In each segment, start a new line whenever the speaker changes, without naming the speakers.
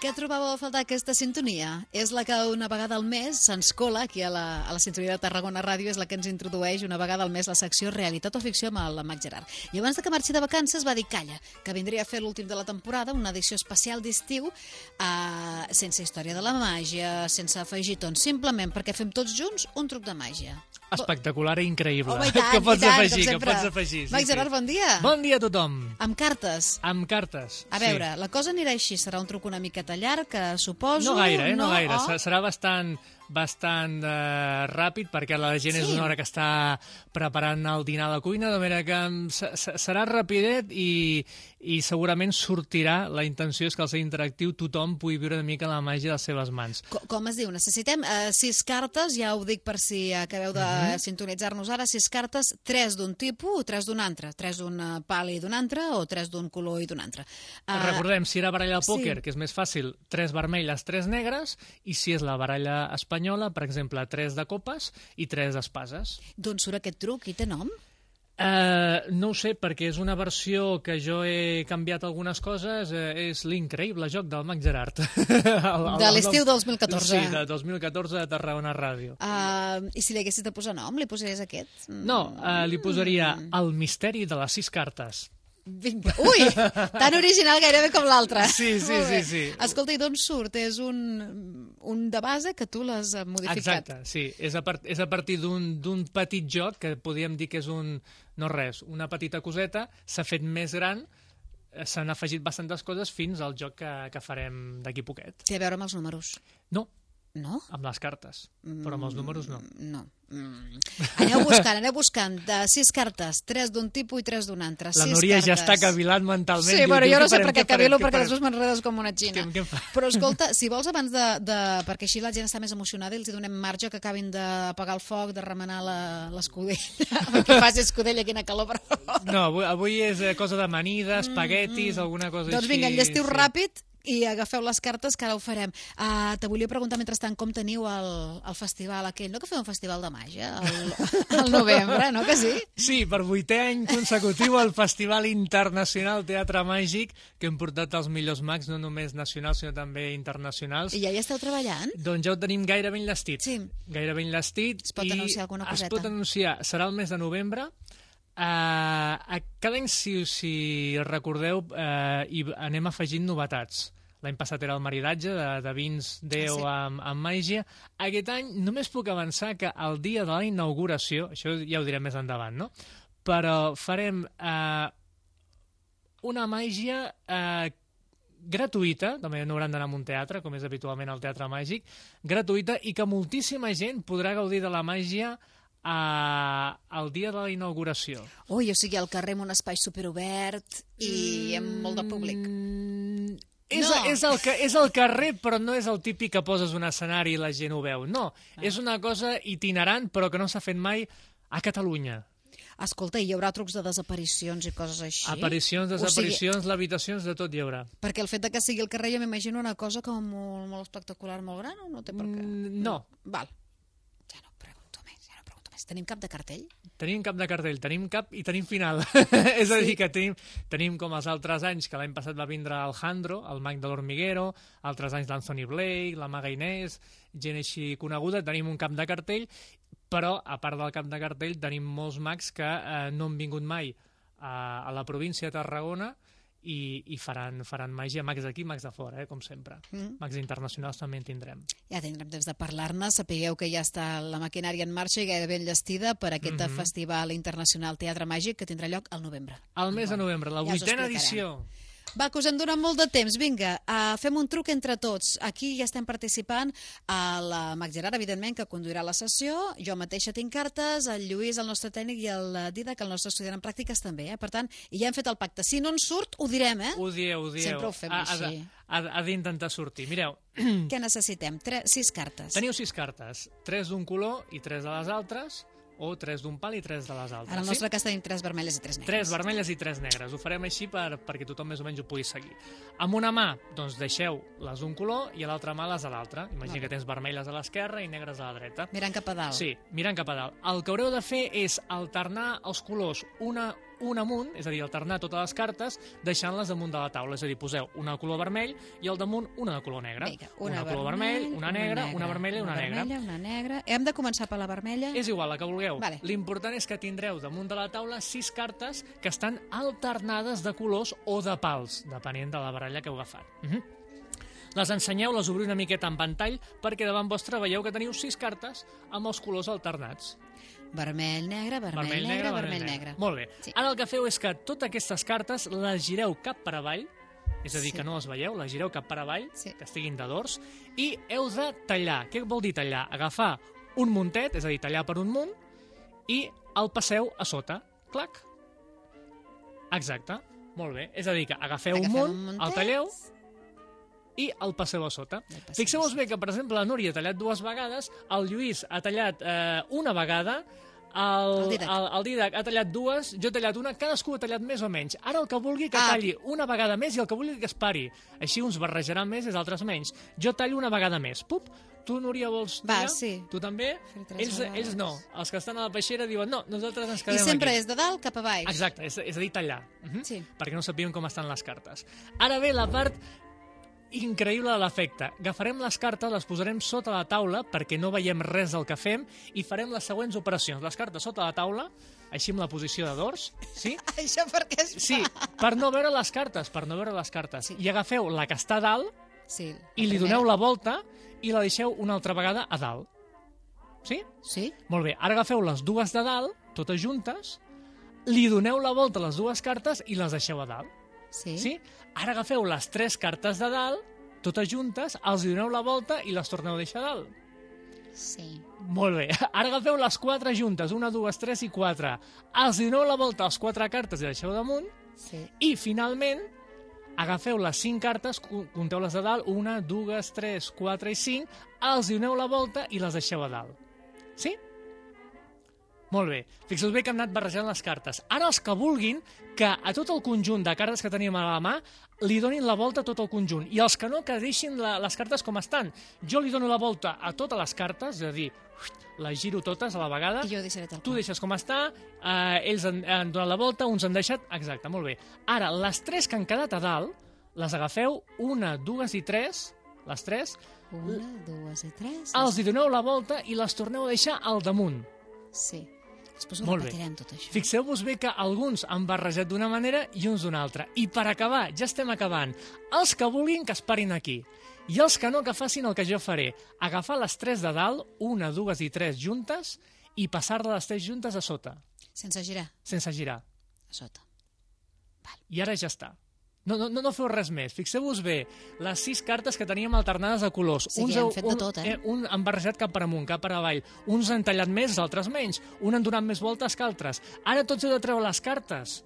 ja trobava a faltar aquesta sintonia. És la que una vegada al mes se'ns cola aquí a la, a la sintonia de Tarragona Ràdio, és la que ens introdueix una vegada al mes la secció Realitat o Ficció amb el Mac Gerard. I abans de que marxi de vacances va dir, calla, que vindria a fer l'últim de la temporada, una edició especial d'estiu, eh, sense història de la màgia, sense afegitons, simplement perquè fem tots junts un truc de màgia.
Espectacular i increïble.
Home, i tant,
que pots
i tant, com
afegir, que
sempre.
pots afegir.
Mac Gerard, bon dia.
Bon dia a tothom.
Amb cartes.
Amb cartes.
A veure, la cosa anirà així, serà un truc una miqueta llarg, que suposo...
No gaire, eh? No, gaire.
Oh.
Se- Serà bastant bastant eh, ràpid perquè la gent és
Sí.
una hora que està preparant el dinar a la cuina, de manera que mm, se- se- serà rapidet i, i segurament sortirà, la intenció és que al ser interactiu tothom pugui viure una mica la màgia de les seves mans.
Co- Com es diu? Necessitem eh, sis cartes, ja ho dic per si eh, acabeu de
Mhm.
sintonitzar-nos ara, sis cartes, tres d'un tipus o tres d'un altre, tres d'un eh, pal i d'un altre o tres d'un color i d'un altre. Eh,
Recordem, si era baralla
sí.
de pòquer, que és més fàcil, tres vermelles, tres negres, i si és la baralla espanyola, per exemple, tres de copes i tres d'espases.
D'on surt aquest truc i té nom?
Eh, no ho sé, perquè és una versió que jo he canviat algunes coses. Eh, és l'increïble joc del Mac Gerard. El- el-
De
el
l'estiu
nom-
2014.
Sí, de 2014 de Tarragona Ràdio.
Uh, I si li haguessis de posar nom, li posaries aquest? Mm,
No, eh, li posaria El misteri de les sis cartes.
Vinga. Ui! Tan original gairebé com l'altre.
Sí, sí,
Molt bé.
sí, sí.
Escolta, i d'on surt? És un, un de base que tu l'has eh, modificat.
Exacte, sí. És a, part, és a partir d'un d'un petit joc, que podríem dir que és un... no res, una petita coseta, s'ha fet més gran, eh, s'han afegit bastantes coses fins al joc que, que farem d'aquí poquet.
Té a veure amb els números,
No,
no?
amb les cartes, però amb els números no.
No. Mm. Aneu buscant, aneu buscant de sis cartes, tres d'un tipus i tres d'un altre.
La
sis
Núria
cartes.
ja està cavilant mentalment.
Sí,
diu,
bueno,
diu,
jo no
què
sé
farem,
per què
què farem,
cavilo,
què
perquè
farem?
després m'enredes com una xina.
Què- què fa?
Però escolta, si vols abans de, de... Perquè així la gent està més emocionada i els hi donem marge que acabin d'apagar el foc, de remenar la- l'escudella, perquè faci escudella, quina calor, però...
No, avui, avui és eh, cosa d'amanida, espaguetis, alguna cosa
Mm, Doncs
així.
vinga, enllestiu
sí.
ràpid i agafeu les cartes que ara ho farem. Uh, te volia preguntar, mentrestant, com teniu el, el festival aquell? No que feu un festival de màgia el, el novembre, no que sí?
Sí, per vuitè any consecutiu al Festival Internacional Teatre Màgic, que hem portat els millors mags, no només nacionals, sinó també internacionals.
I ja hi esteu treballant?
Doncs ja ho tenim gairebé enllestit.
Sí.
Gairebé enllestit.
Es pot
i
anunciar alguna coseta?
Es pot anunciar. Serà el mes de novembre. Uh, a cada any, si, si recordeu, uh, hi anem afegint novetats. L'any passat era el maridatge de, de vins, Déu
Ah, sí.
amb, amb màgia. Aquest any només puc avançar que el dia de la inauguració, això ja ho direm més endavant, no? Però farem eh, una màgia eh, gratuïta, també no hauran d'anar a un teatre, com és habitualment el teatre màgic, gratuïta i que moltíssima gent podrà gaudir de la màgia eh, el dia de la inauguració.
Ui, o sigui, al carrer amb un espai superobert i amb molt de públic.
Mm, és,
No.
és, el que, és el carrer, però no és el típic que poses un escenari i la gent ho veu. No,
Ah.
és una cosa itinerant, però que no s'ha fet mai a Catalunya.
Escolta, hi haurà trucs de desaparicions i coses així?
Aparicions,
O sigui,
desaparicions, levitacions, de tot hi haurà.
perquè el fet de que sigui el carrer jo m'imagino una cosa com molt, molt espectacular, molt gran, o no té per què?
Mm, no.
Val. Ja no pregunto més, ja no pregunto més. Tenim cap de cartell?
Tenim cap de cartell, tenim cap i tenim final. és a dir, que tenim, tenim com els altres anys, que l'any passat va vindre Alejandro, el mag de l'Hormiguero, altres anys l'Anthony Blake, la Maga Inés, gent així coneguda, tenim un cap de cartell, però a part del cap de cartell tenim molts mags que eh, no han vingut mai a, a la província de Tarragona i, i faran, faran màgia, mags d'aquí, mags de fora, eh, com sempre.
Mm.
Mags internacionals també en tindrem.
Ja tindrem temps de parlar-ne. Sapigueu que ja està la maquinària en marxa i gairebé enllestida per aquest
Mhm.
mm -hmm. Festival Internacional Teatre Màgic que tindrà lloc al novembre.
El mes de novembre, la
Ja us ho
vuitena
explicarem.
edició.
Va, que us hem donat molt de temps. Vinga, uh, fem un truc entre tots. Aquí ja estem participant a la Mac Gerard, evidentment, que conduirà la sessió. Jo mateixa tinc cartes, el Lluís, el nostre tècnic, i el eh, Didac, el nostre estudiant en pràctiques, també. Eh? Per tant, i ja hem fet el pacte. Si no en surt, ho direm, eh?
Ho dieu, ho dieu.
Sempre ho fem
Ha- ha de-
així.
Ha, ha d'intentar sortir. Mireu,
Què necessitem? Tre sis cartes.
teniu sis cartes, tres d'un color i tres de les altres, o tres d'un pal i tres de les altres.
En el nostre cas tenim tres vermelles i tres
sí?
negres.
Tres vermelles i tres negres. Ho farem així per, perquè tothom més o menys ho pugui seguir. Amb una mà, doncs, deixeu les d'un color i a l'altra mà les de l'altra. Imagina
Vale.
que tens vermelles a l'esquerra i negres a la dreta.
Mirant cap a dalt.
Sí, mirant cap a dalt. El que haureu de fer és alternar els colors. Una, un amunt, és a dir, alternar totes les cartes, deixant-les damunt de la taula. És a dir, poseu una de color vermell i al damunt una de color negre.
Vinga,
una, de color vermell, una negra, una, vermella i una, negra.
vermella, una negra. Hem de començar per la vermella.
És igual, la que vulgueu.
Vale.
L'important és que tindreu damunt de la taula sis cartes que estan alternades de colors o de pals, depenent de la baralla que heu agafat. Mhm. Les ensenyeu, les obriu una miqueta en ventall, perquè davant vostra veieu que teniu sis cartes amb els colors alternats.
Vermell, negre, vermell, negre, vermell, negre.
Molt bé.
Sí.
Ara el que feu és que totes aquestes cartes les gireu cap per avall, és a dir,
Sí.
que no les veieu, les gireu cap per avall,
Sí.
que estiguin de dors, i heu de tallar. Què vol dir tallar? Agafar un muntet, és a dir, tallar per un munt, i el passeu a sota. Clac. Exacte. Molt bé. És a dir, que agafeu
Agafem un
un
eh?
munt,
muntet.
el talleu i el passeu a sota.
El passeu a
Fixeu-vos
sota.
bé que, per exemple, la Núria ha tallat dues vegades, el Lluís ha tallat eh, una vegada, el,
El Didac.
el, el Didac ha tallat dues, jo he tallat una, cadascú ha tallat més o menys. Ara el que vulgui que
Ah.
talli una vegada més i el que vulgui que es pari. Així uns barrejaran més i els altres menys. Jo tallo una vegada més. Pup, tu, Núria, vols
Va,
tallar?
sí.
Tu també?
Fer tres
Ells,
vegades.
ells no. Els que estan a la peixera diuen no, nosaltres ens
I
quedem
sempre
aquí.
és de dalt cap a baix.
Exacte, és, és a dir, tallar. Mhm
Sí.
perquè no sapíem com estan les cartes. Ara ve la part increïble de l'efecte. Agafarem les cartes, les posarem sota la taula perquè no veiem res del que fem i farem les següents operacions. Les cartes sota la taula, així amb la posició de dors, sí?
Això perquè es
Sí, per no veure les cartes, per no veure les cartes.
Sí.
I agafeu la que està a dalt
fa. Sí,
i li doneu la volta i la deixeu una altra vegada a dalt. Sí?
Sí?
Molt bé, ara agafeu les dues de dalt, totes juntes, li doneu la volta a les dues cartes i les deixeu a dalt.
Sí.
Sí? Ara agafeu les tres cartes de dalt, totes juntes, els hi doneu la volta i les torneu a deixar a dalt.
Sí.
Molt bé. Ara agafeu les quatre juntes, una, dues, tres i quatre. Els hi doneu la volta a les quatre cartes i les deixeu damunt.
Sí.
I, finalment, agafeu les cinc cartes, co- compteu-les de dalt, una, dues, tres, quatre i cinc, els hi doneu la volta i les deixeu a dalt. Sí? Molt bé. Fixeu-vos bé que hem anat barrejant les cartes. Ara els que vulguin que a tot el conjunt de cartes que tenim a la mà li donin la volta a tot el conjunt. I els que no, que deixin la, les cartes com estan. Jo li dono la volta a totes les cartes, és a dir, les giro totes a la vegada.
I jo ho deixaré tal
Ah, Tu
qual.
deixes com està, eh, ells han, han donat la volta, uns han deixat... Exacte, molt bé. Ara, les tres que han quedat a dalt, les agafeu, una, dues i tres, les tres,
Una, dues i tres.
els hi doneu la volta i les torneu a deixar al damunt.
Sí. Després ho
Molt bé.
repetirem tot això.
Fixeu-vos bé que alguns han barrejat d'una manera i uns d'una altra. I per acabar, ja estem acabant. Els que vulguin que es parin aquí. I els que no, que facin el que jo faré. Agafar les tres de dalt, una, dues i tres juntes, i passar-les les tres juntes a sota,
Sense girar,
sense girar.
a sota.
I ara ja està. No, no, no, no feu res més. Fixeu-vos bé, les sis cartes que teníem alternades de colors.
Sí, que
heu-
hem fet de
un,
tot, eh?
un han barrejat cap per amunt, cap per avall. Uns han tallat més, altres menys. Un han donat més voltes que altres. Ara tots heu de treure les cartes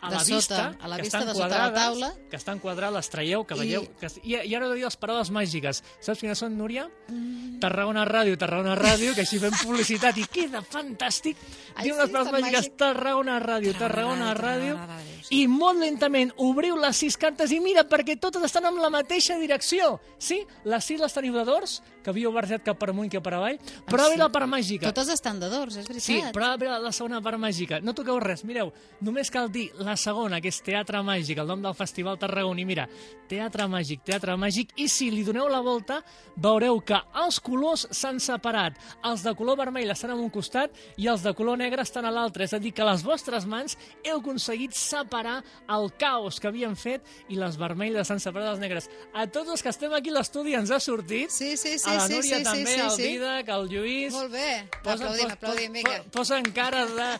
a
De
la
sota,
vista,
a la
que
vista,
estan
de sota la
quadrades,
taula.
Que estan quadrades, les traieu, que
I-
veieu... Que, i, I ara heu de dir les paraules màgiques. Saps quines són, Núria?
Mm.
Tarragona Ràdio, Tarragona Ràdio, que així fem publicitat i queda fantàstic.
Ai,
Diu
sí,
unes paraules
tan
màgiques,
màgic.
Tarragona Ràdio, Tarragona Ràdio,
Tarragona Ràdio, sí.
i molt lentament obriu les sis cartes i mira, perquè totes estan en la mateixa direcció. Sí, les sis les teniu de dors, que havíeu barrejat cap per amunt i cap per avall. Provi
Ah, sí.
la part màgica.
Totes estan de dors, és veritat.
Sí, però ara ve la segona part màgica. No toqueu res, mireu, només cal dir la segona, que és Teatre Màgic, el nom del Festival Tarragoni. Mira, Teatre Màgic, Teatre Màgic, i si li doneu la volta, veureu que els colors s'han separat. Els de color vermell estan a un costat i els de color negre estan a l'altre. És a dir, que les vostres mans heu aconseguit separar el caos que havien fet i les vermelles estan separades dels negres. A tots els que estem aquí a l'estudi ens ha sortit.
Sí, sí, sí,
a la
sí,
Núria
sí,
també,
sí, sí,
al
sí.
Didac, al Lluís...
Molt bé. Va, aplaudim, aplaudim, vinga.
Po, posen cara de...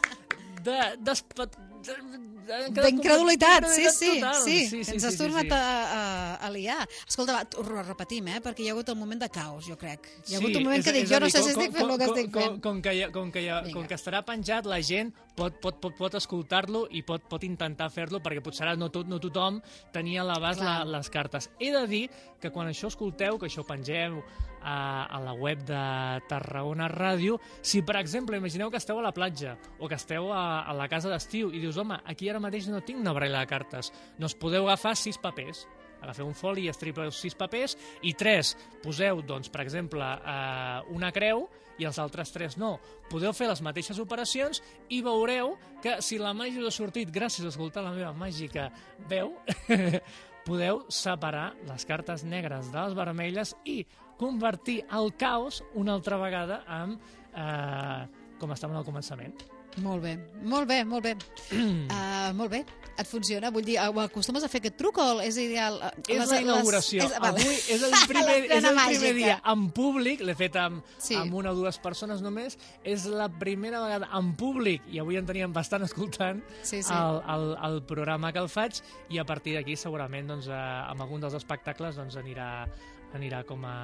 de, d'espat...
D'incredulitat, sí, sí,
total.
sí, sí, ens has tornat A, a, a liar. Escolta, va, torno a repetim, eh, perquè hi ha hagut el moment de caos, jo crec. Hi ha hagut un moment que dic, jo no sé si estic fent el que estic
com,
fent.
Com, com, que, hi ha- com, que, hi ha-
Vinga.
com que estarà penjat, la gent pot, pot, pot, pot escoltar-lo i pot, pot intentar fer-lo, perquè potser ara no, tot, no tothom tenia a l'abast la,
Clar.
les cartes. He de dir que quan això escolteu, que això ho pengeu a, a la web de Tarragona Ràdio, si, per exemple, imagineu que esteu a la platja o que esteu a, a la casa d'estiu i dius, home, aquí ara mateix no tinc una barrera de cartes, doncs podeu agafar sis papers. Agafeu un foli i estripeu sis papers i tres, poseu, doncs, per exemple, eh, una creu i els altres tres no. Podeu fer les mateixes operacions i veureu que si la màgia us ha sortit gràcies a escoltar la meva màgica veu, podeu separar les cartes negres de les vermelles i convertir el caos una altra vegada en... Eh, com estàvem al començament.
Molt bé, molt bé, molt bé. uh, molt bé, et funciona? Vull dir, ho acostumes a fer aquest truc o és ideal?
És la inauguració. Les, és, vale. Avui és el primer, és el primer dia en públic, l'he fet amb,
Sí.
sí. amb una o dues persones només, és la primera vegada en públic, i avui en teníem bastant escoltant
Sí, sí.
El, el, el programa que el faig, i a partir d'aquí segurament doncs, eh, amb algun dels espectacles doncs, anirà, anirà com a,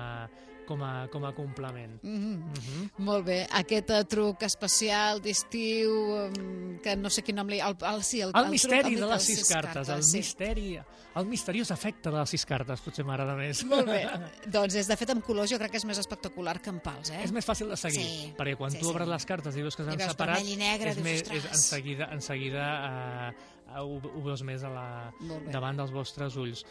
com a, com a complement.
Mm -hmm. Molt bé, aquest eh, truc especial d'estiu, em, que no sé quin nom li... El, el, sí, el,
El,
truc,
misteri
el
de les
de
sis cartes, el
sí.
misteri, el misteriós efecte de les sis cartes, potser m'agrada més.
Molt bé, doncs és de fet amb colors jo crec que és més espectacular que amb pals, eh?
És més fàcil de seguir,
Sí,
perquè quan
sí,
tu obres
sí.
les cartes i veus que
I
s'han
veus
separat,
vermell i negre,
és
dius,
més,
"Ostres".
és en seguida, en seguida eh, eh, ho, ho veus més a la,
Molt bé.
davant dels vostres ulls.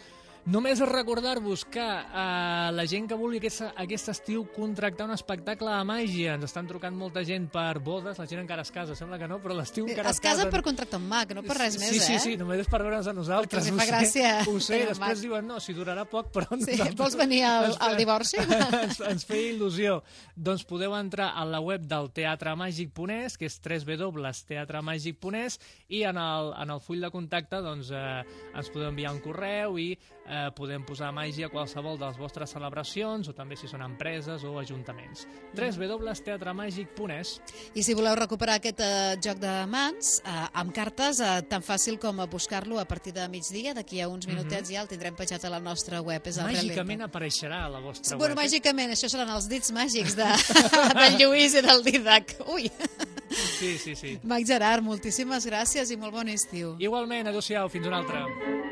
Només recordar-vos que eh, la gent que vulgui aquest, aquest estiu contractar un espectacle de màgia, ens estan trucant molta gent per bodes, la gent encara es casa, sembla que no, però l'estiu encara
Eh, Es casen
casen
per contractar un mag, no per res
sí,
més,
sí,
eh?
Sí, sí, només és per veure'ns a nosaltres.
Perquè els
ho
fa
sé,
gràcia
Ho sé,
tenir un mag.
després diuen, no, si durarà poc, però
Sí,
nosaltres-
vols venir al-
ens fa-
al divorci?
ens, ens feia il·lusió. Doncs podeu entrar a la web del Teatre Màgic Ponès, que és www.teatremàgic.es, i en el, en el full de contacte doncs, eh, ens podeu enviar un correu i eh, podem posar màgia a qualsevol de les vostres celebracions, o també si són empreses o ajuntaments.
Mm.
www.teatremàgic.es
I si voleu recuperar aquest eh, joc de mans eh, amb cartes, eh, tan fàcil com a buscar-lo a partir de migdia, d'aquí a uns minutets ja el tindrem penjat a la nostra web. És el
Mhm. Màgicament
Realitat.
apareixerà a la vostra
Bueno,
web. eh?
màgicament, això seran els dits màgics de, del Lluís i del Didac. Ui!
Sí, sí, sí.
Mag Gerard, moltíssimes gràcies i molt bon estiu.
Igualment, adéu-siau, fins una altra.